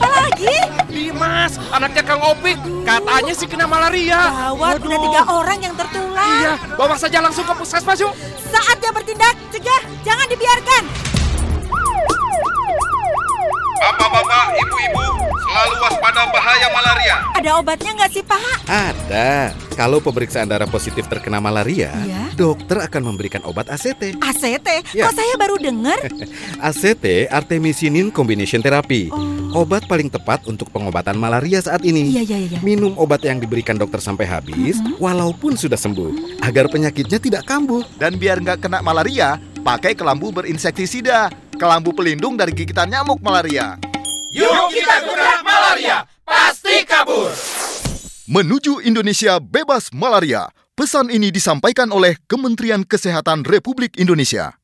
lagi? Dimas, anaknya Kang Opik, katanya sih kena malaria. Gawat, udah tiga orang yang tertular. Ah, Iya, bawa saja langsung ke puskesmas yuk. Saatnya bertindak, cegah, jangan dibiarkan. Bapak-bapak, ibu-ibu, selalu waspada bahaya malaria. Ada obatnya nggak sih, Pak? Ada. Kalau pemeriksaan darah positif terkena malaria, Iya. dokter akan memberikan obat ACT. ACT, Iya. kok saya baru dengar? ACT, artemisinin combination therapy. Obat paling tepat untuk pengobatan malaria saat ini. Oh. Iya, iya, iya. Mm-hmm. Minum obat yang diberikan dokter sampai habis, walaupun sudah sembuh, agar penyakitnya tidak kambuh. Dan biar nggak kena malaria, pakai kelambu berinsektisida. Kelambu pelindung dari gigitan nyamuk malaria. Yuk kita gunakan malaria, pasti kabur. Menuju Indonesia bebas malaria. Pesan ini disampaikan oleh Kementerian Kesehatan Republik Indonesia.